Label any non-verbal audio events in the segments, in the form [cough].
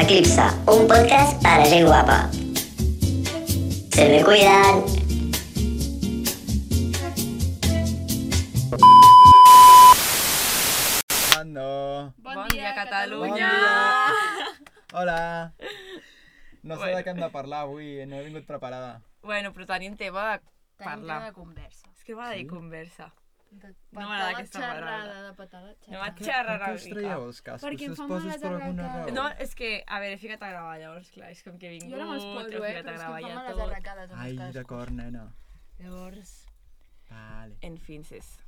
Eclipsa, un podcast para gente guapa. Se me cuidan. No. Bon, dia, Catalunya! Bon dia. Hola! No sé Bueno. de què hem de parlar avui, eh, no he vingut preparada. Bueno, però tenim tema de Tenim parlar. tema de conversa. És que m'agrada dir Sí? conversa. De m'agrada patar la aquesta xerrada, paraula. de patar la No xerrada. m'ha xerrat Per què us traieu els cascos? Perquè em us fan mal Pues, poses les per alguna raó? arracades. No, és que, a veure, he ficat a gravar llavors, clar, és com que he vingut, Jo ara me'ls he poso, eh, ficat però a és que em gravar fan ja males tot. arracades amb Ai, els cascos. d'acord, nena. Llavors, Vale. En fins és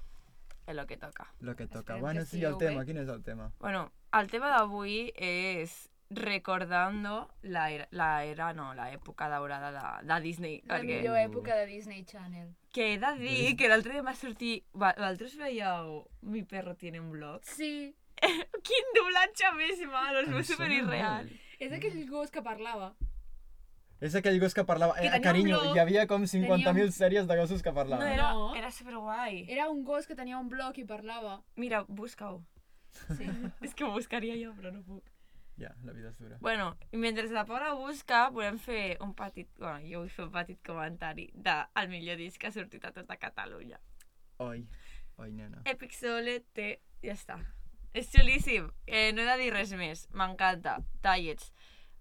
el que toca. Lo que toca. Esperem bueno, que sí, el estigueu tema, bé. quin és el tema? Bueno, el tema d'avui és recordando la era, la era no, la època daurada de, de Disney. la perquè... millor època de Disney Channel. Que he de dir que l'altre dia em va sortir... Va, vosaltres veieu Mi perro tiene un blog? Sí, Quin doblatge més malo, es Em veu sona superirreal. molt. és aquell gos que parlava. És aquell gos que parlava... Que Eh, tenia un carinyo, blog. hi havia com 50.000 Tenia sèries de gossos que No, parlaven. era, No. era superguai. Era un gos que tenia un bloc i parlava. Mira, busca-ho. Sí. [laughs] És que ho buscaria jo, però no puc. Ja, la vida és dura. Bueno, i mentre la Paula busca, volem fer un petit... Bueno, jo vull fer un petit comentari del millor disc que ha sortit a tota Catalunya. Oi. Oi, nena. Epic Sole té... Ja està. És xulíssim. Eh, no he de dir res més. M'encanta. Tallets.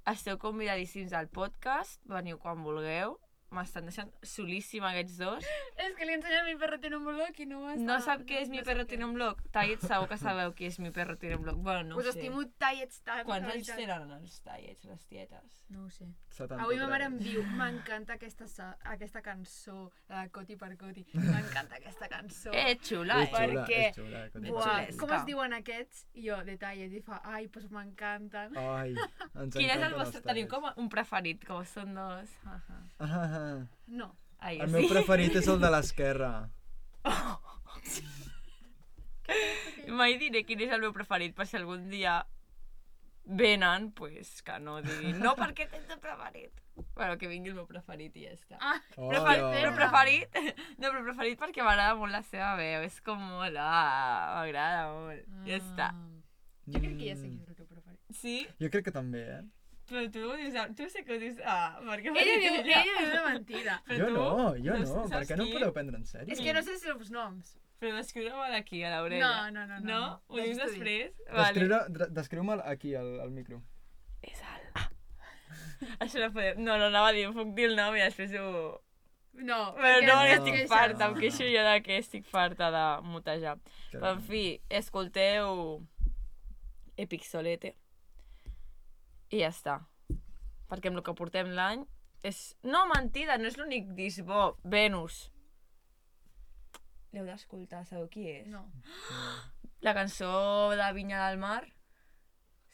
Esteu convidadíssims al podcast. Veniu quan vulgueu. M'estan deixant xulíssim aquests dos. [laughs] És que li ensenya mi perro tiene un bloc i no va No sap què és Mi Perro Tiene un Blog? Tallets segur que sabeu qui és Mi Perro Tiene un Blog. Bueno, no ho Us sé. estimo tallets tant. Quants la anys veritat. tenen els tallets, les tietes? No ho sé. 73. Avui ma mare em diu, m'encanta aquesta, sa- aquesta cançó, la de Coti per [laughs] Coti, m'encanta aquesta cançó. Eh, xula, És eh? xula, perquè- és xula, que Buah, no Buah, sé. xulesca. com es diuen aquests? I jo, detalles, i fa, ai, doncs m'encanten. Ai, ens Quin és el encanten vostre? els Teniu talls. com un preferit, com són dos. Ahà. Ah, ah, ah. No, Ai, El meu sí. [laughs] preferit és el de l'esquerra. Mai diré quin és el meu preferit, per si algun dia venen, pues, que no [laughs] diguin, no, perquè tens el preferit. Bueno, que vingui el meu preferit i ja està. Ah, Oh, Prefer ja. però preferit, [laughs] no, però preferit perquè m'agrada molt la seva veu, és com molt, ah, m'agrada molt, ja Ah. està. Jo crec que ja sé Mm. quin és el teu [laughs] preferit. Sí, Jo crec que també, eh? però tu ho dius, tu sé que ho dius, ah, perquè m'ha Ella dit diu, ella diu una mentida. Però jo tu no, jo no, saps perquè no qui? ho podeu prendre en sèrio. És que no sé si els noms. Però descriure-me'l aquí, a l'orella. No, no, no. No? No? Ho dius t'ho dic. després? Descriure, dre- descriu-me'l aquí, al, al micro. És alt. Ah. Això no podem... No, no, anava a dir, puc dir el nom i després ho... No, Però no, no. no perquè estic es part. farta, em queixo jo de que estic farta de mutejar. Que- Però, en fi, escolteu Epixolete i ja està. Perquè amb el que portem l'any és... No, mentida, no és l'únic disc bo. Venus. L'heu d'escoltar, sabeu qui és? No, La cançó de Vinya del Mar.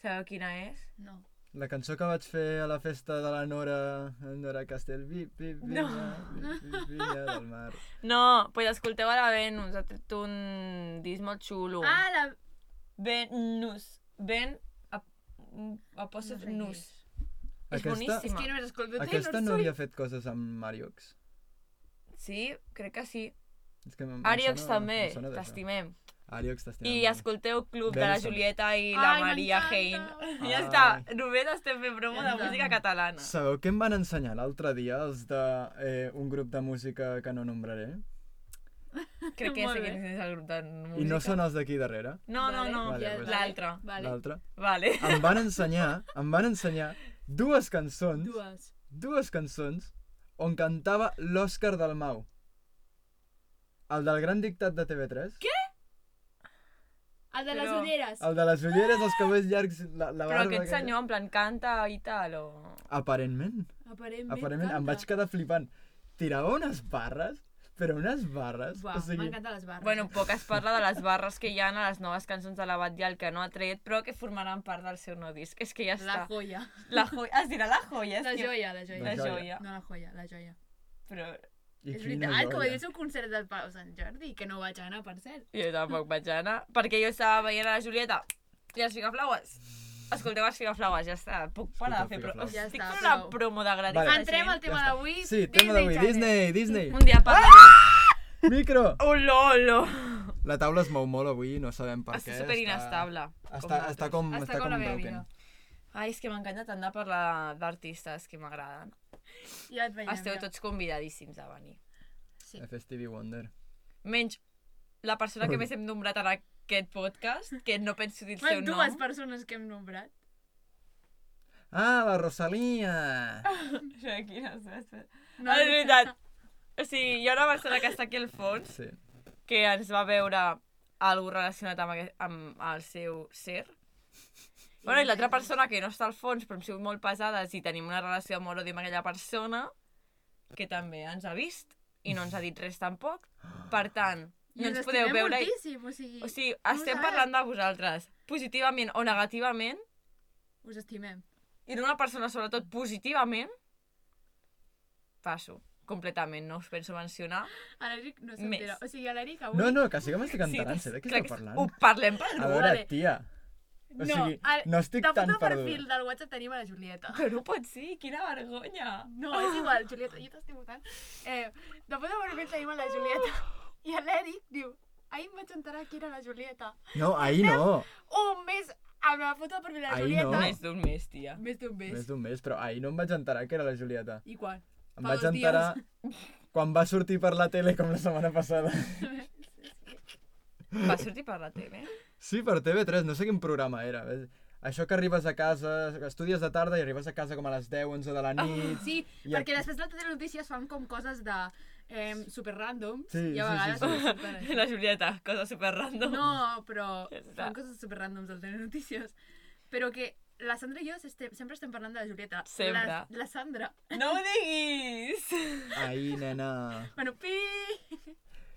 Sabeu quina és? no. La cançó que vaig fer a la festa de la Nora, Nora Castellví, vi, vi, No. vi, vi, vinya del mar. No, pues escolteu ara Venus, ha tret un disc molt xulo. Ah, la... Venus. Ben... ap- Apòstrof No sé nus. Aquesta- És És boníssima. que només escolto Taylor Aquesta no Swift. havia fet coses amb Mariox. Sí, crec que sí. És que em- em Ariox sona- també, em sona d'això. t'estimem. Ariox t'estimem. I escolteu Club de la Venus també. Julieta Ai, i la Maria Hein. m'encanta. Ja Ai. està, només estem fent promo de Ja està. música catalana. Sabeu què em van ensenyar l'altre dia els de eh, un grup de música que no nombraré? Crec que ja Molt sé bé. quin és el grup de I no música. són els d'aquí darrere, No, no, Vale. no, Vale, Ah, Ja, pues. l'altra. Vale. l'altre. Vale. Em van ensenyar, em van ensenyar dues cançons Dues. dues cançons on cantava l'Òscar Dalmau. El del Gran Dictat de TV3. Què? El de les Però- ulleres. El de les ulleres, els cabells llargs, la, la Però barba... aquest aquella. senyor, en plan, canta i tal, o... Aparentment, Aparentment, aparentment, em vaig quedar flipant. Tirava unes barres, però unes barres... Uau, o sigui, m'encanta les barres. Bueno, poc [laughs] es parla de les barres que hi ha a les noves cançons de la Batllal que no ha tret, però que formaran part del seu nou disc. És que ja la està. joia. La joia. Es dirà la joia. és La que- joia, la joia. La La joia. joia. No, la joia, la joia. Però I és quina veritat, com joia. dius el concert del Pau Sant Jordi, que no vaig anar, per cert. jo tampoc vaig anar, perquè jo estava veient a la Julieta i els Figaflaues. Escolteu els Figaflaues, ja està. Puc parar de fer, però Escolta, ja Figaflaues. estic Ja està, fent una prou. promo de gratis. Vale. a la Entrem gent. al Ah! tema d'avui. Sí, tema d'avui, Channel. Mm. Disney, Disney. Un dia parlarem. Micro! Olò, olò. La taula es mou molt avui, no sabem per Està què. superinestable. Està, està com, Està està com la com meva broken. amiga. Ai, és que m'encanta tant de parlar d'artistes que m'agraden. Ja et veiem. Esteu ja. tots convidadíssims a venir. Sí. Stevie Wonder. Menys la persona que més hem nombrat en aquest podcast, que no penso dir el seu Bueno, nom. dues persones que hem nombrat. Ah, la Rosalia! Shakira, espera. No, Ah, és veritat. O sigui, hi ha una persona que està aquí al fons Sí. que ens va veure algú relacionat amb, aquest, amb el seu ser. Bueno, i l'altra persona que no està al fons, però hem sigut molt pesades i tenim una relació amor odi amb aquella persona, que també ens ha vist i no ens ha dit res tampoc. Per tant, I no ens us podeu estimem veure... i- moltíssim, o sigui, O sigui, ho estem sabem. parlant de vosaltres, positivament o negativament, us estimem. i d'una persona, sobretot, positivament, passo completament, no us penso mencionar. A l'Eric no Més. s'entera. O sigui, a l'Eric avui... No, no, que sí que m'estic enterant, t'has- sé de què clar esteu que parlant. Ho parlem per [laughs] A grup. veure, Oh, vale. tia, o sigui, no estic de tan foto de perduda. perfil del WhatsApp tenim a la Julieta. [laughs] Que no pot ser, quina vergonya. No, és igual, Julieta, jo t'estimo tant. Eh, de foto de perfil tenim a la Julieta. I a l'Eric diu, ahir em vaig enterar que era la Julieta. no, ahir no, Un mes amb la foto de perfil de la Ahir Julieta. no. Més d'un mes, tia. Més d'un mes. més d'un mes, però ahir no em vaig enterar que era la Julieta. I quan? [laughs] Em Fa vaig dos dies. enterar quan va sortir per la tele com la setmana passada. Va sortir per la [laughs] tele. Sí, per TV3, no sé quin programa era. ves? Això que arribes a casa, estudies de tarda i arribes a casa com a les 10, 11 de Ah. la nit. Ah, Sí, I perquè aquí- després l'altre de les notícies fan com coses de eh, super randoms Sí, i sí, a vegades sí, sí. són [laughs] super... La Julieta, cosa super random. No, però Ja està. fan coses super randoms al telenotícies. Però que la Sandra i jo estem, sempre estem parlant de la Julieta. Sempre. La, la Sandra. No ho diguis! [laughs] Ahir, nena. Bueno, pi! [laughs]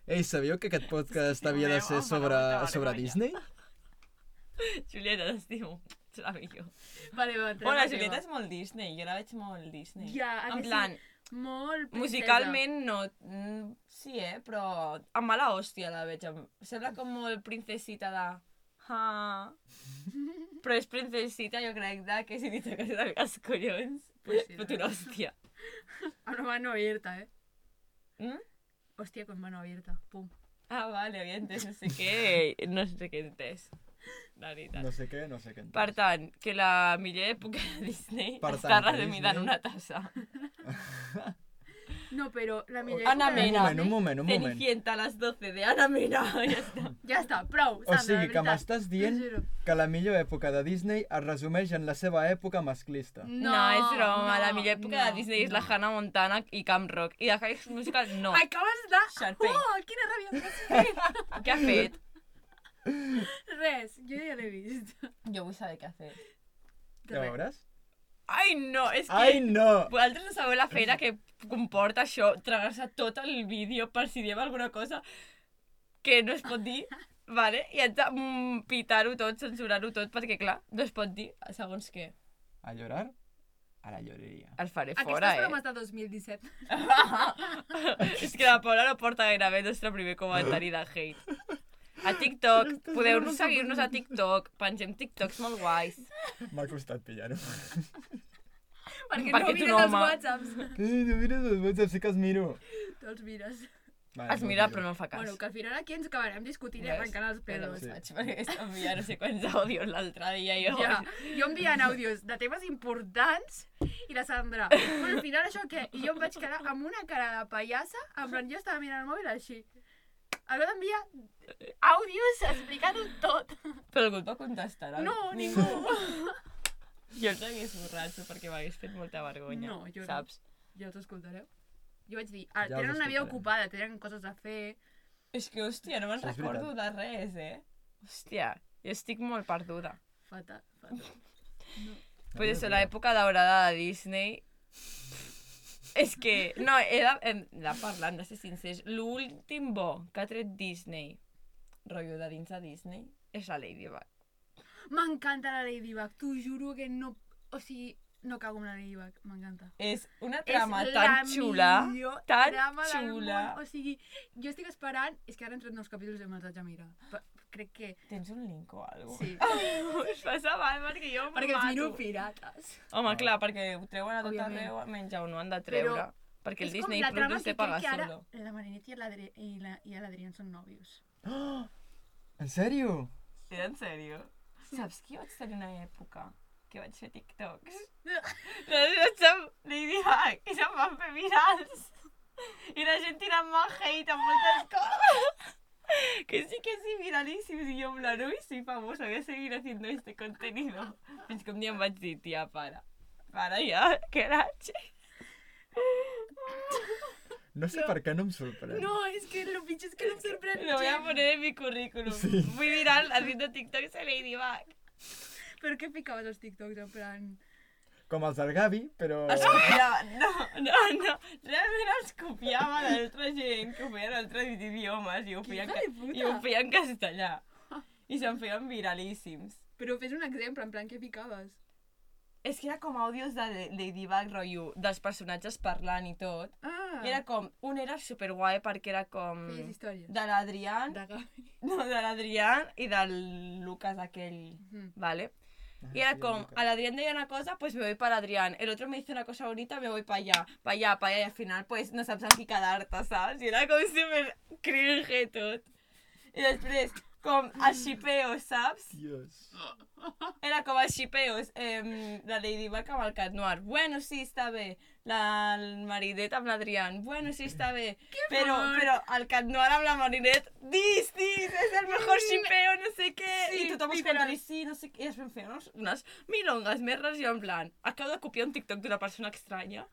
Ei, sabíeu que aquest podcast Estimeu, havia de home, ser sobre, molta sobre vergonya. Disney? Julieta, [laughs] t'estimo. Ets la millor. Vale, va, entrem Bueno, la al Julieta és tema. molt Disney, jo la veig molt Disney. Ja, a en que sí? plan, Molt princesa. musicalment no... mm, Sí, eh? Però amb mala hòstia la veig. amb- Sembla com molt princesita de... [laughs] Ah. Però és princesita, jo crec, de que si li toques els collons, Pues sí, fot una hòstia. A una mano abierta, eh? Mm? Hòstia, con mano abierta. Pum. Ah, vale, havia entès no sé [laughs] què, no sé què he entès. La veritat. No sé què, no sé què. en Per tant, que la millor època de Disney Per està tant, que resumida en Disney- una tassa. No, però Oh. la millor... Anna època de Mena. Un moment, un Disney- moment, un moment. Cenicienta a les 12 de Ana Mena. Ja està. Ja està, prou, O Sandra, sigui de Oh, que veritat. m'estàs dient T'ho juro. que la millor època de Disney es resumeix en la seva època masclista. No, és broma. la millor època de no, Disney és la no. Hannah Montana i Camp Rock. I de High School Musical, no. Acabes de... Sharpay. Oh, quina ràbia que [laughs] has fet! Què ha fet? Res, jo ja l'he vist. Jo vull saber què ha fet. Ja veuràs? Ai, no, és que... Ai, no! Vosaltres no sabeu la feina que comporta això, tragar-se tot el vídeo per si diem alguna cosa que no es pot [laughs] dir, vale? i haig de mm, pitar-ho tot, censurar-ho tot, perquè clar, no es pot dir segons què. A llorar? A la lloreria. El faré fora, Aquestes bromes de [laughs] 2017. eh? És que la Paula no porta gaire bé el nostre primer comentari de hate. A TikTok, Aquestes podeu bromes són seguir-nos a TikTok, pengem TikToks molt guais. M'ha costat pillar-ho. Perquè, Perquè no ets un mires els home. whatsapps. [laughs] Ei, no mires els whatsapps, sí que els miro. Tu els mires. Vale, doncs Es mira però no fa cas. Bueno, que al final aquí ens acabarem discutint i Ves? arrencant els Bueno, pelos. Sí. vaig, perquè és com ja no sé quants àudios l'altre dia i jo. Ja, jo enviant àudios de temes importants i la Sandra, bueno, al final això què? I jo em vaig quedar amb una cara de pallassa, en plan, jo estava mirant el mòbil així. Haver d'enviar àudios explicant-ho tot. Però algú et va contestar? algú? No, ningú. Jo els hagués borrat perquè m'hagués fet molta vergonya. No, jo no. saps? Ja us escoltareu? Jo vaig dir, ah, Ja us tenen una vida escoltarem. ocupada, tenen coses a fer... És que, hòstia, no me'n Això és recordo de res, eh? Hòstia, jo estic molt perduda. Fatal, fatal. Però això, l'època daurada de Disney... És que, no, he de, hem de parlar, hem de ser sincers. L'últim bo que ha tret Disney, rotllo de dins de Disney, és la Ladybug. M'encanta la Ladybug, t'ho juro que no... O sigui, no cago en la Ladybug, m'encanta. És una És trama la tan xula, millor tan trama del xula. món. O sigui, jo estic esperant... És que ara han tret nous capítols i me'ls haig de mirar. Però crec que... Tens un link o alguna Sí. [laughs] Us passa mal, perquè jo em Perquè els mato. miro pirates. Home, clar, perquè ho treuen a tot Òbviament. arreu, menys on ho han de treure. Però perquè el és com Disney la trama Plus té que pagar crec que ara solo. la Marinette i l'Adri- i la- i l'Adrián són nòvios. Oh, [gasps] en sèrio? pues, Era en sèrio? Saps qui vaig tenir una època? que vaig fer [laughs] TikToks. No, no, se'm, li dic, i se'm van fer virals. I la gent tirant mal hate amb moltes coses. [laughs] Que sí, que sí, viralíssims. I jo en plan, uy, soy famosa, voy a seguir haciendo este contenido. Fins que un dia em vaig dir, tia, para. Para ja, [laughs] que raig. No sé per què no em sorprèn. No, es que lo pinche es que no sorprende. Lo voy a poner en mi currículum. Sí. Fui viral haciendo TikToks a Ladybug. ¿Pero qué picabas los TikToks? En plan. Com els del Gavi, però... Es copiava, [laughs] no, no, no, realment els copiava l'altra gent que ho feia en altres idiomes i ho feia, en, Hija de ca- puta. i ho feia en castellà. I se'n feien viralíssims. Pero fes un ejemplo, en plan, ¿qué picabas? És que era com àudios de Ladybug, rotllo, dels personatges parlant i tot. Ah. I era com, un era superguai perquè era com... Feies històries. De l'Adrián, De Gavi. no, de l'Adrián i del Lucas aquell, Ujú. ¿vale? Ah, Y era sí, como, Lucas. al Adrián decía una cosa, pues me voy para Adrián. El otro me dice una cosa bonita, me voy para allá, para allá, para allá. Y al final, pues, nos saps aquí cada harta, saps? I era com super cringe tot. I després, com els xipeos, saps? Dios. Era com els xipeos. Eh, la Ladybug amb el Cat Noir. Bueno, sí, està bé. La el Marinet amb l'Adrián. Bueno, sí, està bé. [laughs] Però, fort. però el Cat Noir amb la Marinet. Dis, dis, és el mejor xipeo, no sé què. Sí, I tothom es literal. contra sí, no sé què. I es van fer unes, unes milongues més res. Jo en plan, acabo de copiar un TikTok d'una persona estranya.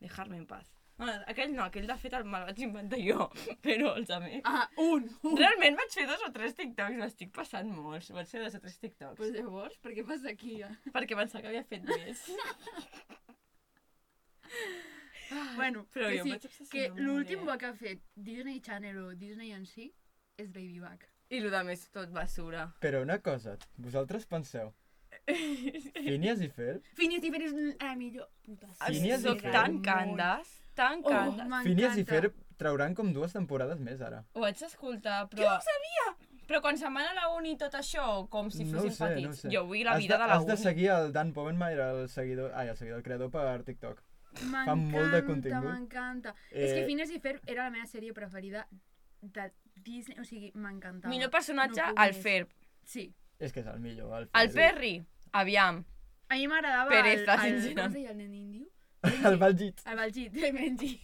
Dejar-me en paz. No, aquell no, aquell de fet el me'l vaig inventar jo, [laughs] però els amics. Ah, un. un. Realment vaig fer dos o tres TikToks, m'estic passant molts. Vaig fer dos o tres TikToks. Pues llavors, per què passa aquí? Ja? [laughs] Perquè pensava que havia fet més. Bueno, però Ah, que jo em vaig sí, que obsessionar molt, l'últim eh? bo que ha fet Disney Channel o Disney en si és Ladybug. I el de més tot basura. Però una cosa, vosaltres [laughs] penseu, Sí, Phineas i Ferb? Phineas i Ferb és la millor puta Oh, Phineas i Soc Ferb. tan candes, tan candes. m'encanta. Phineas i Ferb trauran com dues temporades més ara. Ho vaig escoltar, però... Jo ho sabia! Però quan se'n van a la uni i tot això, com si no ho fossin sé, petits. no ho sé. Jo vull la Has de, vida de, la Has de uni. seguir el Dan Povenmire, el seguidor, ai, el seguidor, el creador per TikTok. M'encanta, molt de contingut. M'encanta, És que Eh, Phineas i Ferb era la meva sèrie preferida de Disney, o sigui, m'encantava. Millor personatge, No puc el més. Ferb. Sí. És que és el millor, el Ferb. El Perry, aviam. A mi m'agradava Pereza, el, el, com sincerament. es deia el nen índio? El Baljit. El [laughs] Balgit, el Benji.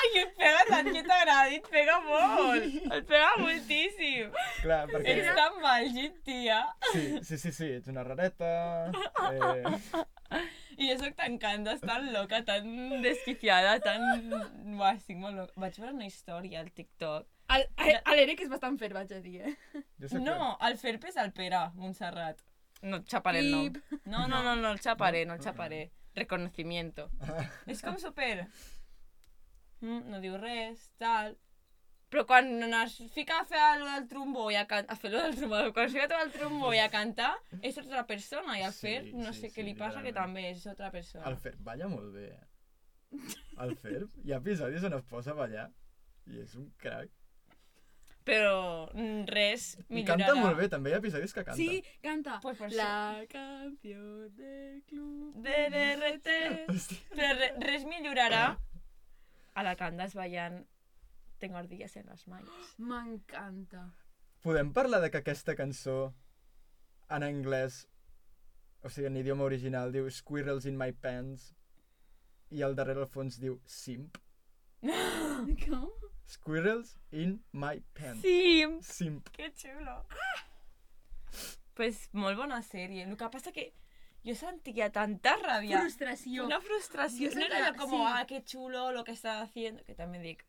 Ai, et pega tant que t'agradi, et pega molt. Et pega moltíssim. Clar, perquè... Ets tan màgic, tia. Sí, sí, sí, sí, ets una rareta. Eh, I jo sóc tan candes, tan loca, tan desquiciada, tan... Uah, estic molt loca. Vaig veure una història al TikTok. El, el, el Eric és bastant fer, vaig a dir, eh? jo soc No, el Ferp és el Pere, Montserrat. No et xaparé el nom. Pip. No, no, no, no el xaparé, no el xaparé. Reconocimiento. [laughs] És com super... Mm, no diu res, tal... Però quan es fica a fer allò del trombó i a cantar... A fer allò del trombó, quan es fica a tocar el trombó i a cantar, és altra persona. I al Sí, Ferp, no sí, sé sí, què li passa, que literalment. també és altra persona. El Ferb balla molt bé, eh? El Ferb, hi ha episodis on es posa a ballar i és un crac. però mm, res I millorarà. canta molt bé, també hi ha episodis que canta. Sí, canta. Pues per la canción del club. De DRT. Hosti, Però re, res millorarà a la que andes ballant Tengo ardillas en las mallas. M'encanta. Podem parlar de que aquesta cançó en anglès, o sigui, en idioma original, diu Squirrels in my pants i al darrere al fons diu Simp. Com? Squirrels in my pants. Sí, Simp. que xulo. Pues molt bona sèrie. El que passa que jo sentia tanta ràbia. Frustració. Una frustració. Jo No sentia- era com, sí. ah, que xulo lo que está haciendo, que també dic,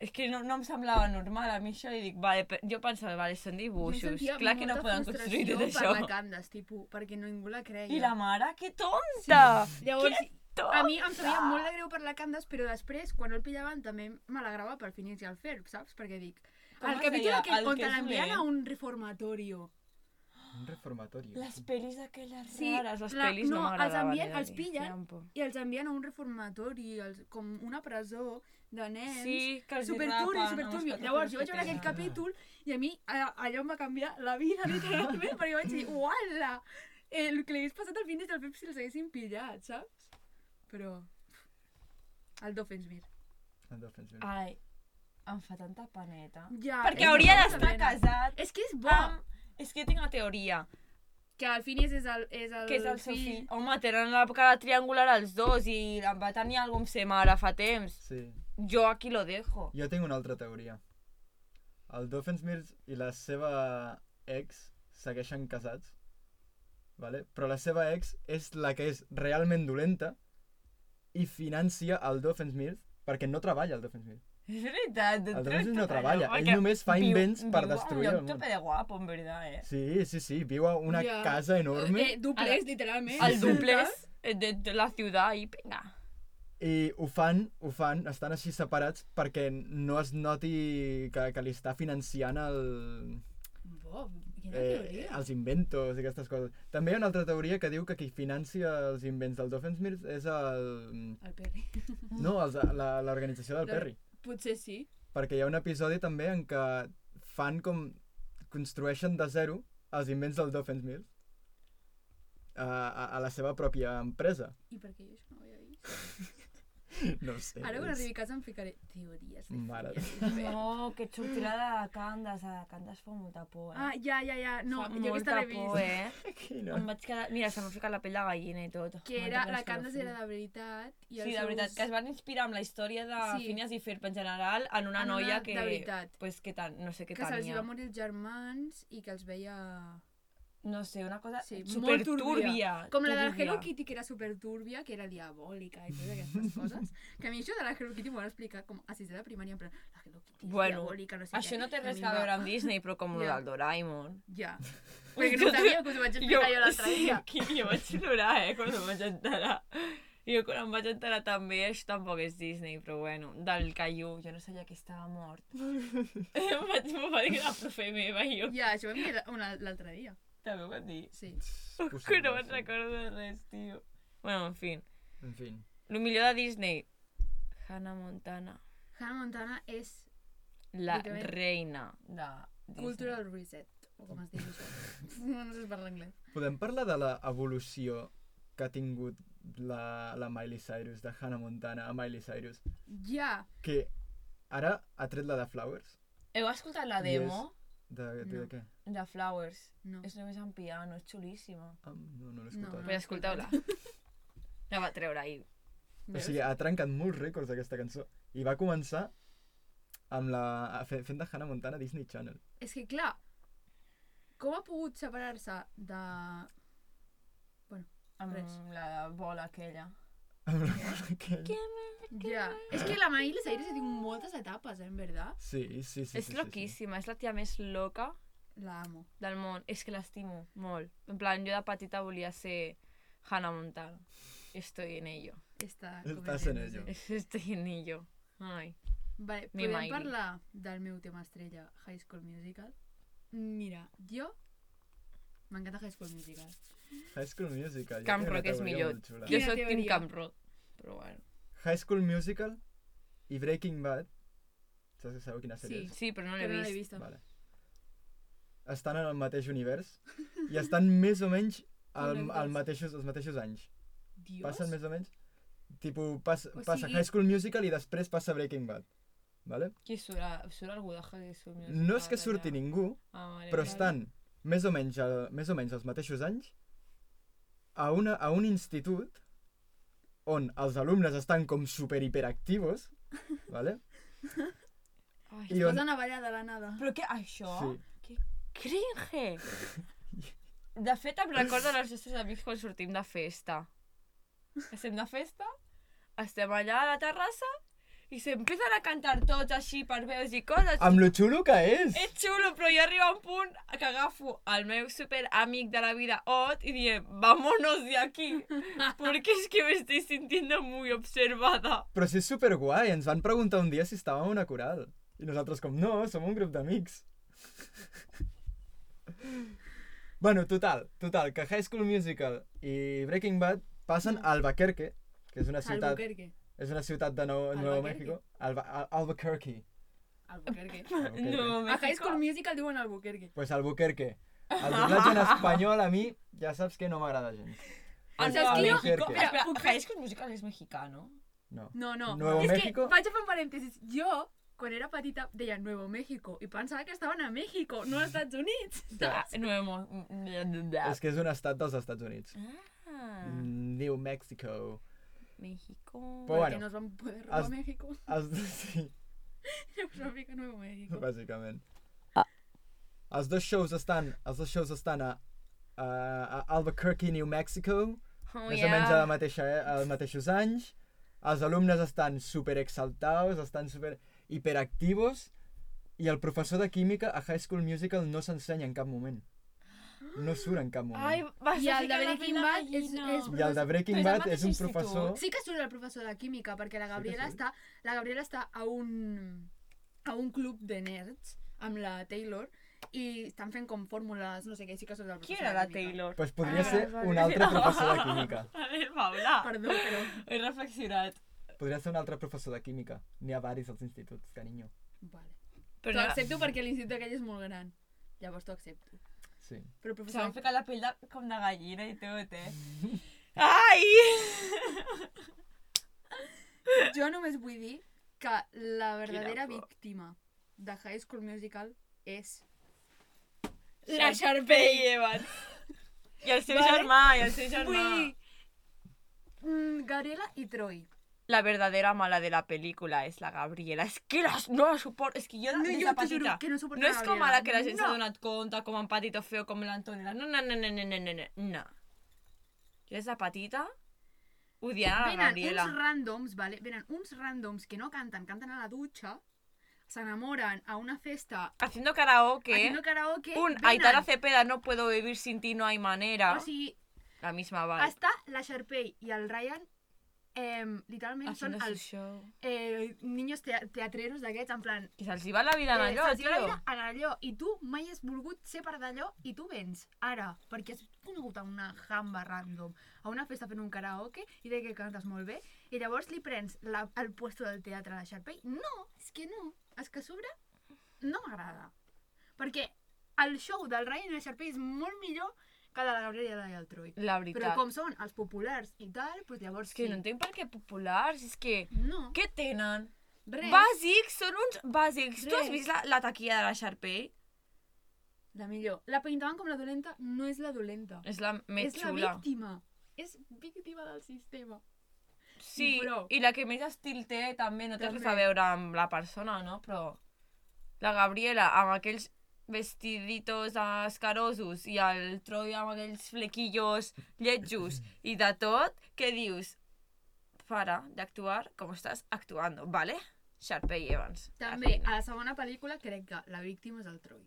és que no, no em semblava normal a mi això i dic, vale, pe- jo pensava, vale, són Jo dibuixos, sentia clar que no molta poden construir frustració tot això. Per la Candace, tipus, perquè ningú la creia. I la mare, que tonta! Sí. Llavors, tonta! a mi em sabia molt de greu per la Candace, però després, quan el pillaven, també me l'agradava per Phineas i el Ferb, saps? Perquè dic, Com el es capítol deia? aquell El on que te és l'envien dolent. a un reformatorio. Un reformatori. eh? Les pel·lis aquelles Sí, rares, les la- pel·lis no, no, els m'agradaven. envien- era els dir, pillen. feien por. I els envien a un reformatori, els, com una presó de nens. Sí, que els hi Superturbio, rapen, superturbio. amb els Llavors, jo vaig veure que aquell tenen. capítol i a mi a- allò em va canviar la vida, literalment, perquè vaig dir, uala, eh, el que li hagués passat al Phineas i al Pep si els haguessin pillat, saps? Però... El Doffensmir. El Dolphins, mira. Ai, em fa tanta paneta. Ja, Perquè és hauria una d'estar pena. casat Ah. És que és bo. amb... És que tinc una teoria. que al Phineas és el, és el, que és el seu fill. Home, tenen la cara triangular els dos i em va tenir algú, em sembla, ara fa temps. Sí. Jo aquí lo dejo. [laughs] Jo tinc una altra teoria. El Doofenshmirtz i la seva ex segueixen casats, vale? però la seva ex és la que és realment dolenta i financia el Doofenshmirtz perquè no treballa el Doofenshmirtz. És veritat. El Doofenshmirtz no treballa, ell només fa invents per destruir el el món. món. Viu a un lloc tope de guapo, en veritat, eh? Sí, sí, sí, viu a una Ja. casa enorme Eh, duplés, literalment. El duplex eh, de, de la ciutat i vinga. i ho fan, ho fan, estan així separats perquè no es noti que, que li està financiant el, Bob, quina eh, teoria. els inventos i aquestes coses. També hi ha una altra teoria que diu que qui financia els invents del Doofenshmirtz és el... El Perry. Ah. No, els- la- l'organització del La- Perry. Potser sí. Perquè hi ha un episodi també en què fan com... construeixen de zero els invents del Doofenshmirtz a, a, a la seva pròpia empresa. [coughs] I per què jo això no ho havia vist? No ho sé. Ara quan és- arribi a casa em ficaré teories. de Mare de- Phineas [laughs] i Ferb. No, que et sortirà de Candes. A Candes ah, fa molta por, eh? Ah, ja, ja, ja. No, fa jo aquesta l'he molta vist. por, eh? Em Quina... vaig quedar... Mira, se m'ha ficat la pell de gallina i tot. Que M'ha era, entrat la Candace l'escalofrío. era de veritat. I Sí, de veritat, que es van inspirar amb la història de Sí. sí. Phineas i Ferb en general en una En una- noia que... de veritat. Pues que tan, no sé què que se'ls hi tenia. va morir els germans i que els veia... No sé, una cosa Sí, sí, molt supertúrbia. Com la de la turbia. Hello Kitty, que era super turbia, que era diabòlica i totes [laughs] aquestes coses. Que a mi això de la Hello Kitty m'ho van explicar com a sisè de primària, en plan, la Hello Kitty és Bueno, diabòlica, no sé Això què. no té I a res mi em a va- veure amb Disney, però com Ja. yeah. el Doraemon. Ja. [laughs] Perquè no sabia que us ho vaig explicar jo, l'altre sí, [laughs] dia. aquí, jo vaig plorar, eh, quan em vaig enterar. Jo quan em vaig enterar també, això tampoc és Disney, però bueno, del Caillou, jo no sabia que estava mort. [laughs] em vaig morir la profe meva i jo. Ja, això ho vam dir la- una- l'altre dia. També ho vaig dir. Sí. [laughs] Que no me'n recordo de res, tio. Bueno, en fi. En fi. El millor de Disney. Hannah Montana. Hannah Montana és La Literalment. reina de Disney. cultural reset, o com es diu [laughs] això. No, no sé parlar anglès. Podem parlar de l'evolució que ha tingut la, la Miley Cyrus, de Hannah Montana a Miley Cyrus, Ja, que ara ha tret la de Flowers? Heu escoltat la demo De, de, No. de què? de Flowers? no. És només en piano, és xulíssima. Ah, no, no l'he No, escoltat. no. Però escolteu-la. [laughs] La va treure ahir. pues O sigui, ha trencat molts rècords aquesta cançó. I va començar amb la, a- fe- fent de Hannah Montana a Disney Channel. És que, clar, com ha pogut separar-se de... Amb Res. la bola aquella. Amb la bola aquella. Ja. És que la Miley Cyrus ha tingut moltes etapes, eh, en verdad. Sí, sí, sí. és sí, Sí, loquíssima, és la tia més loca La amo. del món. És que l'estimo molt. En plan, jo de petita volia ser Hannah Montana. Estoy en ello. [laughs] Està Estàs en ello. Estoy en ello. Ai. Vale, Mi podem Miley. parlar del meu tema estrella, High School Musical? Mira, jo... M'encanta High School Musical. sí. High School Musical. jo Camp tinc una Rock és teoria millor. molt xula. Jo Quina sóc Tim teoria? Camprod. Però bueno. High School Musical i Breaking Bad. Saps, sabeu quina sèrie Sí. és? Sí, però no l'he Però no l'he vist. vista. Vale. Estan en el mateix univers i estan més o menys al, Connectats. al mateixos, els mateixos anys. Dios. Pues Passen més o menys... Tipo, pas, O passa sigui- High School Musical i després passa Breaking Bad. Vale? Qui surt? Ah, Surt algú de High School Musical? No Eh, és que surti allà? ningú, Ah, vale, però vale. estan més o menys, al, més o menys als mateixos anys a, una, a un institut on els alumnes estan com super hiperactivos, [laughs] vale? Ai, I on... Posen a ballar de la nada. Però què? Això? Sí. Que [laughs] cringe! De fet, em recordo els nostres amics quan sortim de festa. Estem de festa, estem allà a la terrassa i s'empiecen a cantar tots així per veus i coses. Amb lo xulo que és! És xulo, però jo arriba un punt que agafo el meu super amic de la vida, Ot, i diem, vámonos de [laughs] aquí, porque es que me estoy sintiendo muy observada. Però si és superguai, ens van preguntar un dia si estàvem a una coral. I nosaltres com, no, som un grup d'amics. [laughs] bueno, total, total, que High School Musical i Breaking Bad passen a Albuquerque, que és una ciutat, Albuquerque. és una ciutat de Nou, nou Albuquerque. México. Alba, Al- Albuquerque. [laughs] Albuquerque. Albuquerque. No, A High School México. Musical diuen Albuquerque. Pues Albuquerque. El doblatge en espanyol a mi ja saps que no m'agrada gens. Ah, Saps qui jo- Albuquerque. Espera, Espera, puc fer- High School Musical és mexicano? No. No, no. Nuevo és México. que, vaig a fer un parèntesis. Jo quan era petita, deia Nuevo México i pensava que estaven a México, no als Estats Units. Ah, no hemos... És que és un estat dels Estats Units. Mm, Ah, New Mexico. México... Però pues Perquè bueno, no es van poder robar els- a México. [laughs] els, sí, Llavors van ficar Nuevo México. [laughs] bàsicament. Ah. Els dos shows estan, els dos shows estan a, a, a Albuquerque, New Mexico, Oh, més o menys a la mateixa, eh, als mateixos anys. Els alumnes estan super exaltats, estan super hiperactivos i el professor de química a High School Musical no s'ensenya en cap moment. No surt en cap moment. Ai, vas I a el de ficar la Breaking pell de Bad és- gallina. és- I el de Breaking Però és el Bad és un mateix professor... institut. Sí que surt el professor de química, perquè la que Gabriela surt. està, la Gabriela està a un, a un club de nerds amb la Taylor i estan fent com fórmules, no sé què, i sí que surt el Qui professor era de la química. Taylor? Pues podria ser Ah, vale. un altre professor de [laughs] química. A veure, Paula, Perdó, però... he reflexionat. Podria ser un altre professor de química. N'hi ha varis als instituts, carinyo. Vale. T'ho Però accepto perquè l'institut aquell és molt gran. Llavors t'ho accepto. Sí. Però se m'han professor... ficat la pell de, com de gallina i tot, [laughs] eh? Ai! Jo només vull dir que la verdadera por. víctima de High School Musical és... [laughs] La Sharpay Evans. I el seu Vale. germà, i el seu germà. Vull dir... Mm, Gabriela i Troy. La verdadera mala de la película és la Gabriela. És que les, no la suporto. És que jo, des de t'ho petita... que no suporto No és com ara que la gent s'ha no. donat compte, com en Patito Feo, com l'Antonella. No, no, no, no, no, no, no, no, no. Jo des de petita odiava la Venen Ah, Gabriela. uns randoms, vale? Venen uns randoms que no canten, canten a la dutxa, s'enamoren a una festa Haciendo karaoke, haciendo karaoke, un venen. Aitana Cepeda, no puedo vivir sin ti, no hay manera. O sigui, La misma va. està la Sharpay i el Ryan, eh, literalment són Haciendo su els show. eh, niños tea teatreros d'aquests, en plan... Que se'ls hi va la vida en eh, allò, se'ls va la tio. vida en allò, i tu mai has volgut ser part d'allò, i tu vens, ara, perquè has conegut a una jamba random, a una festa fent un karaoke, i de que cantes molt bé, i llavors li prens la, el puesto del teatre a la Sharpay. No, és que no, és que a sobre no m'agrada. Perquè el show del Ryan i la Sharpay és molt millor que el de la Gabriela i el del Troy. La Però veritat. com són els populars i tal, doncs llavors És que sí. no entenc per què populars, és que... No, Què tenen? res. Bàsics, són uns bàsics. Tu has Res. vist la, la taquilla de la Sharpay? La millor. La pintaven com la dolenta, no és la dolenta. És la més és la xula. víctima. És víctima del sistema. Sí, I prou. i la que més estil té també, no té res a També. veure amb la persona, no? Però la Gabriela amb aquells vestiditos escarosos i el Troy amb aquells flequillos lletjos i de tot, què dius? Para d'actuar com estàs actuant, ¿vale? Sharpay Evans. la També, reina. a la segona pel·lícula crec que la víctima és el Troy.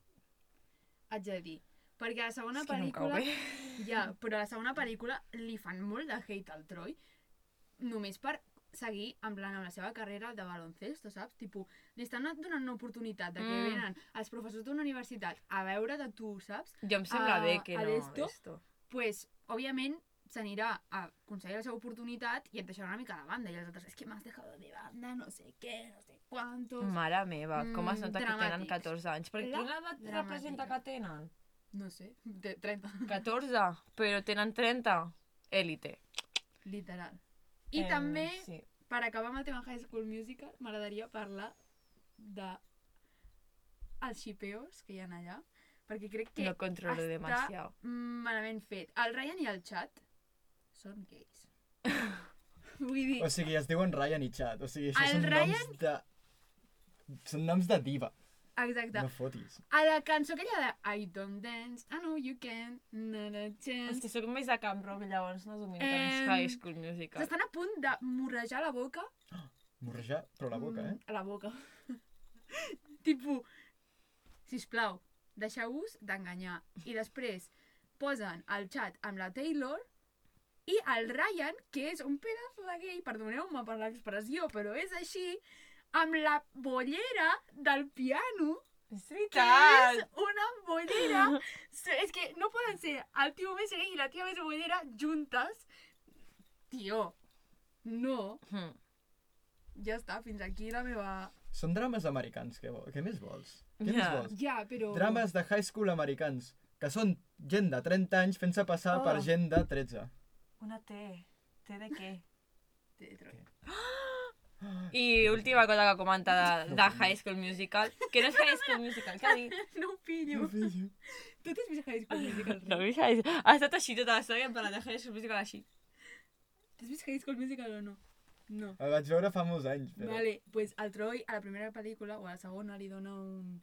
Haig de dir. Perquè a la segona És que no em cau pel·lícula... bé. [laughs] ja, però a la segona pel·lícula li fan molt de hate al Troy. Només per seguir en plan amb la seva carrera de baloncesto, saps? Tipo, li estan donant una oportunitat de que Mm. venen els professors d'una universitat a veure de tu, saps? Jo em sembla a- bé que a no, d'esto? d'esto. pues, òbviament, s'anirà a aconseguir la seva oportunitat i et deixarà una mica de banda. I els altres, és que m'has dejado de banda, no sé què, no sé quantos... Mare meva, com es Mm, nota que tenen dramàtics. 14 anys? Perquè La quina edat dramàtica. representa que tenen? No sé, de 30, [laughs] 14, però tenen 30. Élite. literal. I Em, també, Eh, Sí. per acabar amb el tema High School Musical, m'agradaria parlar de els xipeos que hi ha allà, perquè crec que No controlo està demasiado. malament fet. El Ryan i el Chad són [laughs] gais. Vull dir, O sigui, es diuen Ryan i Chad. O sigui, això El són Ryan- noms de... Són noms de diva. exacte. No fotis. A la cançó aquella de I don't dance, I know you can, not a Hosti, chance. sóc més de Camp Rock, llavors no domino tant Em, els High School Musical. S'estan a punt de morrejar la boca. Morrejar, però la boca, eh? Mm, A la boca. [laughs] tipo, sisplau, deixeu-vos d'enganyar. I després posen el chat amb la Taylor i el Ryan, que és un pedazo de gay, perdoneu-me per l'expressió, però és així, amb la bollera del piano És que veritat! és una bollera. [laughs] Se- és que no poden ser el tio més gay i la tia més bollera juntes. Tio, no. Mm. Ja està, fins aquí la meva... Són drames americans, què, vo- què més vols? Què Ja. més vols? Ja, però... Drames de high school americans, que són gent de 30 anys fent-se passar per Oh. gent de 13. Una T. T de què? Té, Troy. I última cosa que comenta de, de High School Musical, que no és High School Musical, què ha dit? [laughs] No ho [laughs] pillo. Tu t'has vist High School Musical? No, he vist High School... Ha estat així tota l'estona i hem parlat de High School Musical així. T'has vist High School Musical o no? No. El vaig veure fa molts anys, però... Vale, doncs pues el Troy a la primera pel·lícula o a la segona li dona un...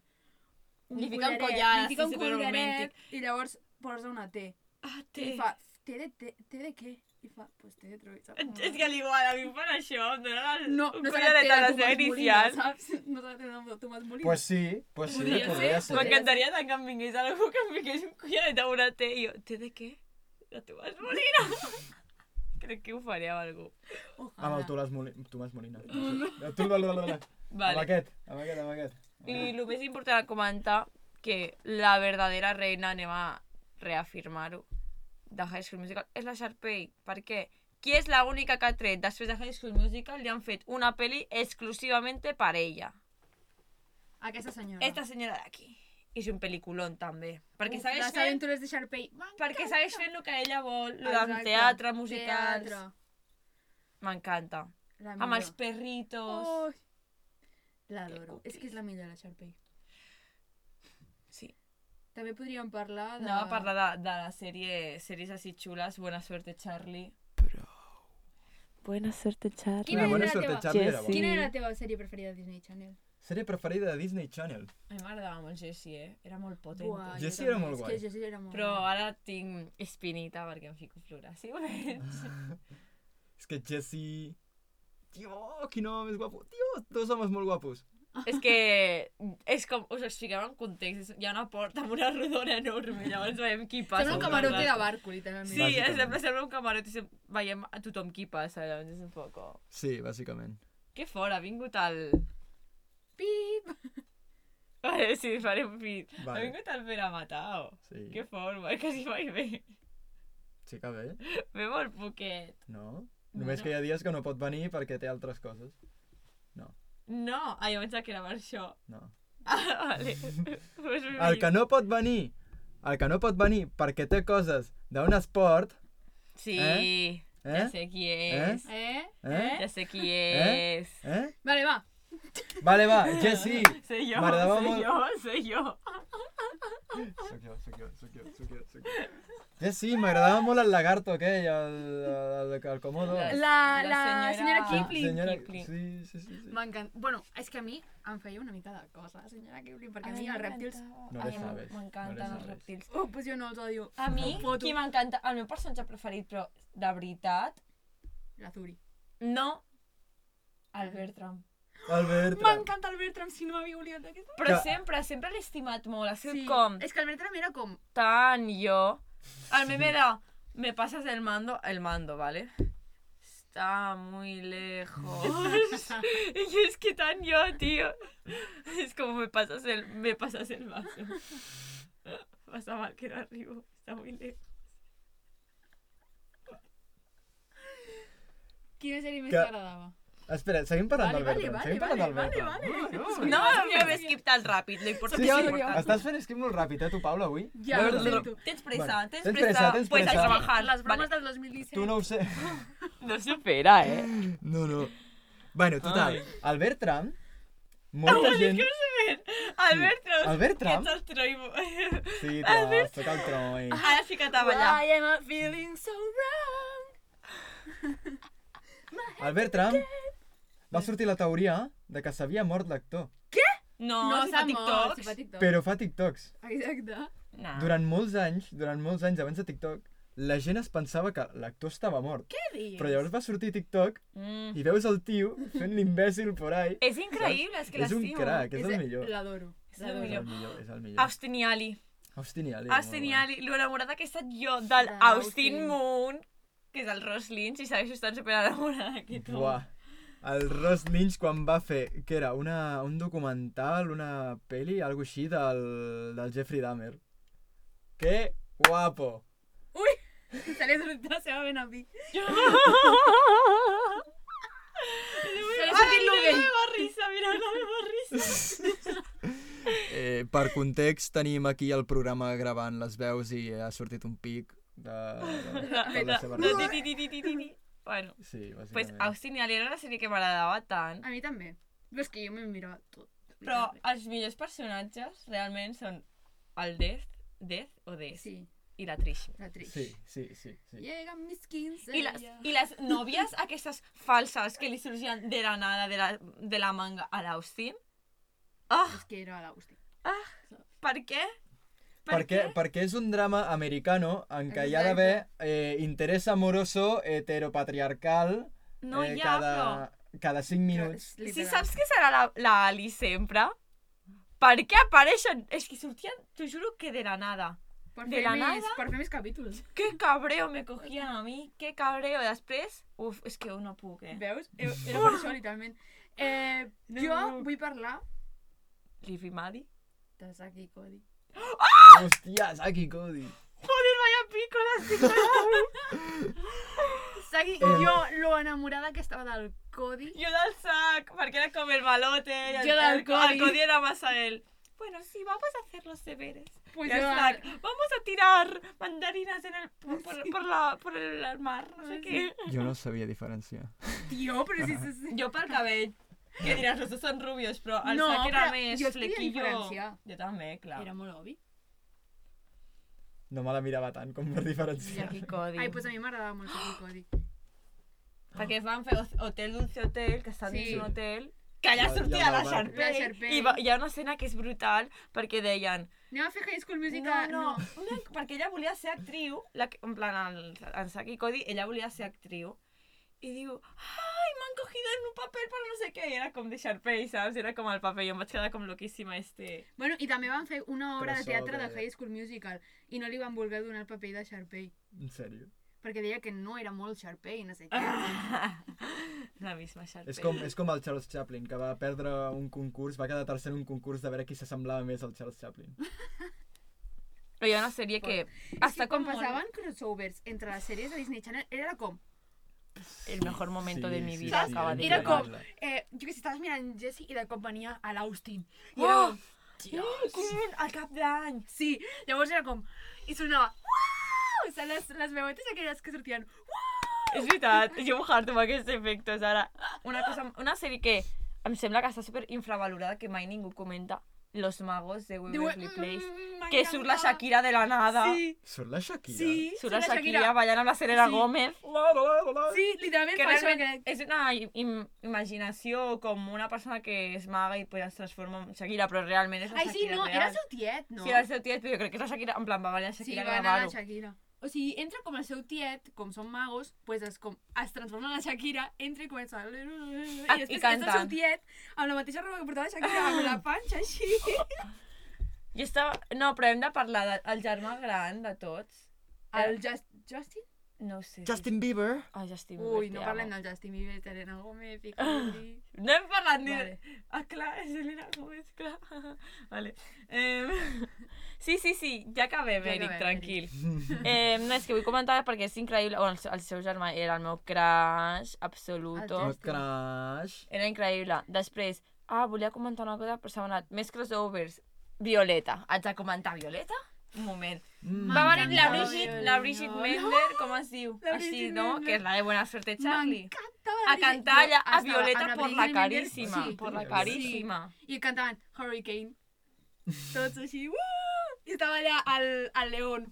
Li fica un collar, li fica sí, un superromàntic. collaret i llavors posa una T. Ah, I té. fa, té de, té, té de què? I fa, pues té de Troy, saps? És que l'igual, a mi em fan això, em donen No, un no serà collaret té a la de seva Tomàs Molina, inicial. saps? No serà té de Tomàs Molina. Pues sí, pues sí, Podria podria, podria ser, ser. podria- M'encantaria tant que em vingués algú que em fiqués un collaret a una T i jo, té de què? La teva és [laughs] molina. Crec que ho faré amb algú. Ojalá. Amb el Tomàs Molina. Tomàs Molina. El Tomàs Molina. Amb Vale. aquest, amb aquest, amb aquest. I el més important a comentar que la verdadera reina, anem a reafirmar-ho, de High School Musical és la Sharpay. Per què? Qui és l'única que ha tret després de High School Musical li han fet una peli exclusivament per ella. Aquesta senyora. Esta senyora d'aquí. És un peliculón també. Perquè Uf, segueix les fent, aventures de Sharpay. perquè segueix fent el que ella vol, el Exacte. del teatre, musicals... Teatre. M'encanta. La Amb els millor. perritos... Oh. Que L'adoro. cuqui. És que és la millor, la Sharpay. Sí. També podríem parlar de... Anava a parlar de, de la sèrie, sèries així xules, Buena Suerte Charlie. Buena suerte, Charlie. Quina La bona era la sort de teva? Xavi era Jessie. bona. Quina era la teva sèrie preferida de Disney Channel? Sèrie preferida de Disney Channel. A mi m'agradava molt Jessie, eh? Era molt potent. Buah, jo Jessie era també. molt És guai. que Jessie era molt Però guai. ara tinc espinita perquè em fico flora, [laughs] sí ho veig? És que Jesse... Tio, quin home més guapo. Tio, dos homes molt guapos. és que és com, us ho expliquem en context, és- hi ha una porta amb una rodona enorme, llavors veiem qui passa. Sembla un per camarote darrere. de barco, literalment. Sí, Bàsicament. sempre sembla un camarot i sempre veiem a tothom qui passa, llavors és un poc... oh. Sí, bàsicament. Que fort, ha vingut el... [laughs] Pip! Vale, sí, farem pit. Vale. Ha vingut el Pere Matao. Sí. Que fort, va, quasi mai ve. Sí que bé, Ve molt poquet. no? Només que hi ha dies que no pot venir perquè té altres coses. No, ah, jo pensava que era per això. [laughs] No. Ah, vale. pues El que no pot venir, el que no pot venir perquè té coses d'un esport, Sí, Eh? ja eh? sé qui és. Eh? Eh? Ja sé qui és. Eh? Vale, va. Vale, va, Jesse. Sé jo, M'agradava sé molt- jo, sé jo. Soc jo, soc jo, soc jo, soc jo, soc jo. Jesse, m'agradava molt el lagarto aquell, el, el, el, el comodo. La, la, senyora, Kipling. Oh. Senyora... Kipling. Sí, sí, sí. sí. M'encanta. Bueno, és que a mi em feia una mica de cosa, la senyora Kipling, perquè a mi els rèptils... No Ai, les sabes, no les M'encanten els sabes. reptils. Oh, pues jo no els odio. A mi, foto. qui m'encanta, el meu personatge preferit, però de veritat, La Zuri. no, el Bertram. El Bertram. M'encanta el Bertram, si no m'havia oblidat d'aquesta. Però Que- sempre, sempre l'he estimat molt, ha sigut com... És que el Bertram era com... tan yo. Al meme era, me pasas el mando, el mando, ¿vale? Está muy [laughs] lejos. y es que tan yo, tío. Es como me pasas el, me pasas el vaso. Pasa mal que era arriba, está muy lejos. Quina sèrie més Que- t'agradava? Espera, seguim parlant Vale, del Bertram. vale, seguim vale, parlant vale, del Bertram. vale, vale. No, no, No, no me skip tan rápido, lo Sí, importante sí, es importante. estàs fent esquip molt ràpid, eh, tu, Paula, avui? Ja, ho sento. Tens presa, Bueno, tens tens presa, presa, tens pues presa. a trabajar. Les bromes Vale. del 2017. Tu no ho sé. No supera, [laughs] eh. [laughs] No, no. Bueno, total, el Bertram, molta Ai, gent... que us ven. Albert Trump. El Bertram? Que ets el troibo. [laughs] Sí, tio, Albert- toca el troi. Ara sí que t'avallà. I am a feeling so wrong. El Bertram va sortir la teoria de que s'havia mort l'actor, No, no si fa fa molt, si TikToks. fa TikTok. però fa TikToks. Ah. Exacte. No. Durant molts anys, durant molts anys abans de TikTok, la gent es pensava que l'actor estava mort. Què dius? Però llavors va sortir TikTok Mm. i veus el tio fent l'imbècil por ahí. És increïble, és que És un eh. l'estimo. crac, és el millor. L'adoro. És el És millor. el millor, és el millor. Austin i Ali. Austin i Ali. molt Austin i guai. Ali. L'enamorada que he estat jo del De Austin Austin. Moon, que és el Ross Lynch, i segueixo estant superenamorada d'aquest home. [laughs] Buah. El Ross Lynch quan va fer, que era una, un documental, una peli, algo així del, del Jeffrey Dahmer. Que guapo! Se li ha sortit la seva ben a mi. Se li ha Ai, sortit no lo la bé. meva risa, mira, la meva risa. Eh, per context, tenim aquí el programa gravant les veus i ha sortit un pic de, de, de la seva No, ràdio. ti, ti, ti, ti, ti, ti. Bueno, Sí, pues bàsicament. Austin i Ali era una sèrie que m'agradava tant. A mi també. Però és que jo me miro tot. Però els millors personatges realment són el Death, Death o Death Sí, i la Trish. la Trish. Sí, sí, sí. sí. Llegan mis 15 I les, ya. I les nòvies aquestes falses que li sorgien de la nada, de la, de la manga a l'Austin. Ah, És que era l'Agustí. ah, per què? Perquè, perquè és un drama americano en què hi ha Exacte. d'haver eh, interès amoroso heteropatriarcal No eh, hi ha, cada, cada 5 minuts. però... Si saps que serà la, la Ali sempre, per què apareixen? És que sortien, t'ho juro que de la nada. Per de fer la més, nada- Per fer més capítols. Que cabreo me Pues cogien a mi, que cabreo. Després, uf, és que no puc, eh? Veus? Eh, Era per això, literalment. Eh, No. jo vull parlar... Liv i Maddie. de Saki Cody. Hòstia, Saki Cody. Joder, vaya pico, l'estic Saki, Eh. jo, lo enamorada que estava del Cody. Jo del sac, perquè era com el balote. i el- Jo del el- Cody. El Cody era más a él. Bueno, sí, vamos a hacer los deberes. Pues Y el yo- sac, vamos a tirar mandarinas en el, por, por- por la, por el mar, no sé qué. Jo no sabia diferenciar. Tio, però si... si, [laughs] si. Jo pel cabell, que diràs, los dos són rubios, però el No, sac era però més jo estudia flequillo. diferència. Jo també, clar. Era molt obvi. No me la mirava tant com per diferenciar. Jackie Cody. Ai, pues a mi m'agradava molt Saki Cody. Perquè van fer Hotel Dulce Hotel, que està dins Sí. un hotel, que allà Ja- sortia ja la va. La Sharpay, Sharpay. i va, hi ha una escena que és brutal perquè deien Anem a fer High School no, Musical. no, una, perquè ella volia ser actriu la, que- en plan, el, en Saki Cody, ella volia ser actriu i diu, ai, m'han cogido en un paper per no sé què, i era com de Sharpay, saps? Era com el paper, jo em vaig quedar com loquíssima, este... [laughs] Bueno, i també van fer una obra de Crossover. teatre de High School Musical i no li van voler donar el paper de Sharpay En sèrio. perquè deia que no era molt Sharpay, no Ah. sé què. la misma Sharpay. És com, és com el Charles Chaplin, que va perdre un concurs, va quedar tercer en un concurs de veure qui s'assemblava més al Charles Chaplin. Però hi ha una sèrie que Està està quan com molt- passaven crossovers entre les sèries de Disney Channel, era com... El mejor momento de mi vida Saps? acaba de Era llegar. com, eh, jo que sé, estaves mirant Jesse i de cop venia a l'Austin. I era Oh! [gasps] com, Quin, al cap d'any! sí, llavors era com... I sonava... "Uau!" O sigui, les, les veuetes aquelles que sortien... "Uau!" És veritat, jo mojar-te amb aquests efectes ara. Una, cosa, una sèrie que em sembla que està super infravalorada, que mai ningú comenta, Los Magos de Diu, Waverly Place, "Mm, que surt la m'encanta." Shakira de la nada, Sí, Surt la Shakira? sí. surt la Shakira ballant amb la Selena Sí. Gómez, La, la, la, la. Sí, literalment que fa això. realment és una im- im- imaginació com una persona que és maga i pues, es transforma en Shakira, però realment és que- la Ai, Shakira sí, no, real. era el seu tiet, no? Sí, era el seu tiet, però jo crec que és la Shakira, en plan, va ballar Sí, Shakira va anar a a la Navarro. Shakira. O sigui, entra com el seu tiet, com són magos, pues es, com, es transforma en la Shakira, entra i comença... I, Ah, després entra el canten. seu tiet amb la mateixa roba que portava la Shakira, amb la panxa [laughs] així. Jo estava... No, però hem de parlar del el germà gran de tots. El Just, Justin? No ho sé. Justin Bieber. Ah, Justin Bieber, Ui, te no amo. Ah, parlem del Justin Bieber, Selena Gomez, i Cardi. No hem parlat ni... Vale. Vale. Ah, clar, és Elena Gómez, clar. [laughs] Vale. Eh, [laughs] sí, sí, sí, ja acabem, Ja ja Eric, acabem, tranquil. [laughs] Eh, no, és que vull comentar perquè és increïble. Bueno, el, seu- el seu germà era el meu crush absoluto. El El Justin. Oh, crash. Era increïble. Després, ah, volia comentar una cosa, però s'ha anat. Més crossovers. Violeta. Haig de comentar Violeta? Un moment. Mm. Va venir la M'encantava Brigitte, Violeta. la Brigitte Mender, com es diu? La Així, Brigitte no? Mendler. Que és la de Buena Suerte Charlie. M'encantava la A Britney. cantar Jo allà a estava amb Violeta por la Britney Mendel, caríssima. sí, Por la sí. caríssima. I cantaven Hurricane. Tots així, uuuh! I estava allà al, al León.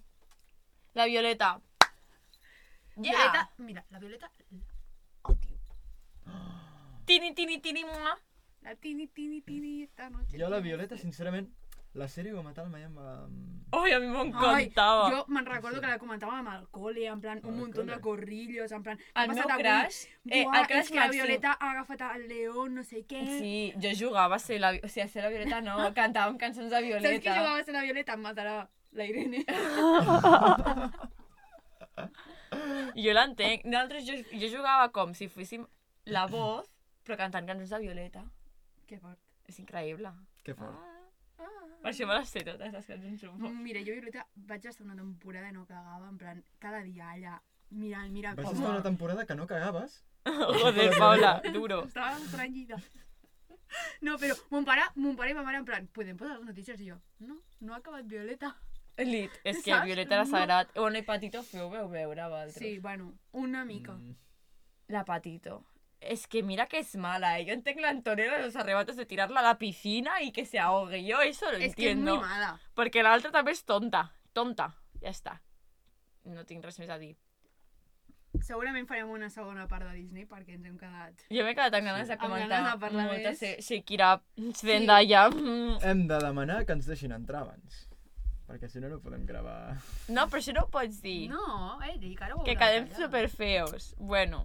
La Violeta. Ja. Violeta, mira, la Violeta Tini, tini, tini, mua. La tini, tini, tini, esta noche. Jo la Violeta, sincerament, la sèrie que va matar el Miami va... Ai, a mi Ai, m'encantava. jo me'n recordo que la comentàvem amb el cole, en plan, un Al muntó de cole. corrillos, en plan... El meu crush, eh, Eh, Buah, el el crush és que la màxim. Violeta ha agafat el León, no sé què... Sí, jo jugava a ser la, o sigui, a ser la Violeta, [laughs] no, cantàvem cançons de Violeta. Saps que jugava a ser la Violeta? Em matarà la [laughs] Irene. Jo l'entenc. Nosaltres, jo, jo jugava com si fóssim la voz, però cantant cançons de Violeta. que fort. És increïble. Que fort. Ah. Ah. Per això me les sé totes, les [laughs] cançons, suposo. Mira, jo Violeta vaig estar una temporada i no cagava, en plan, cada dia allà, mirant, mirant Vas com... estar una temporada que no cagaves? Joder, [laughs] Paula, duro. Estava estranyida. No, però mon pare, mon pare i ma mare en plan, podem posar les notícies? I jo, no, no ha acabat Violeta. Lit. És que Saps? Violeta era No. sagrat. Bueno, i Patito feu veu veure, vosaltres. Sí, bueno, una mica. Mm. La Patito. Es que mira que es mala, ¿eh? Yo entiendo la Antonella los arrebatos de tirarla a la piscina y que se ahogue. Yo eso lo Es que es entiendo. muy mala. Perquè l'altra també és tonta. Tonta. Ja està. No tinc res més a dir. Segurament farem una segona part de Disney perquè ens hem quedat... Jo m'he quedat amb ganes de Amb comentar. Mm, ganes de parlar molta més. Se Shakira, Zendaya... mm. Hem de demanar que ens deixin entrar abans. Perquè si no, no podem gravar. No, però això no ho pots dir. No, Eric, ara ho haurà Que de quedem callar. superfeos. Bueno,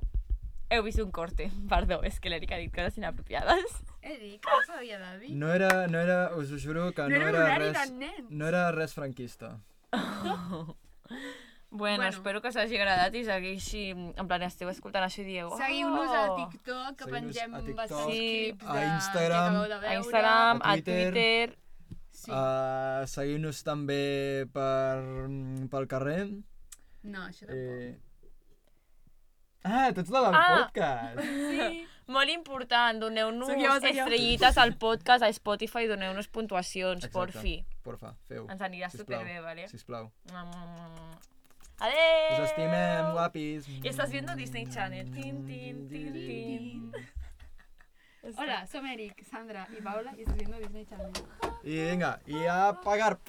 heu vist un corte. [laughs] Perdó, és que l'Eric ha dit coses [laughs] inapropiades. Eric, no s'havia de dir. No era, no era, us ho juro que no, No, era un era horari de res... nen. No era res franquista. Bueno, Bueno. espero que us hagi agradat i segueixi... En plan, esteu escoltant això i dieu... Seguiu-nos a "Oh". TikTok, que Seguiu-nos pengem a TikTok, bastants Sí. clips a de... Instagram. que acabeu de A veure. Instagram, A a Twitter. Twitter... Sí. Sí. Uh, Seguiu-nos també per, pel carrer. No, això tampoc. Eh... Ah, tu ets la del Ah. podcast! Sí. Molt important, doneu-nos Seguiu, seguiu. estrellites al podcast, a Spotify, doneu-nos puntuacions, Exacte. [laughs] por fi. Porfa, feu. Ens anirà Sisplau. superbé, vale? Sisplau. Adeu! Us estimem, guapis. Mm. I estàs viendo Disney Channel. Tin, tin, tin, tin. Hola, som Eric, Sandra i Paula i estem viendo Disney Channel. I vinga, i a pagar.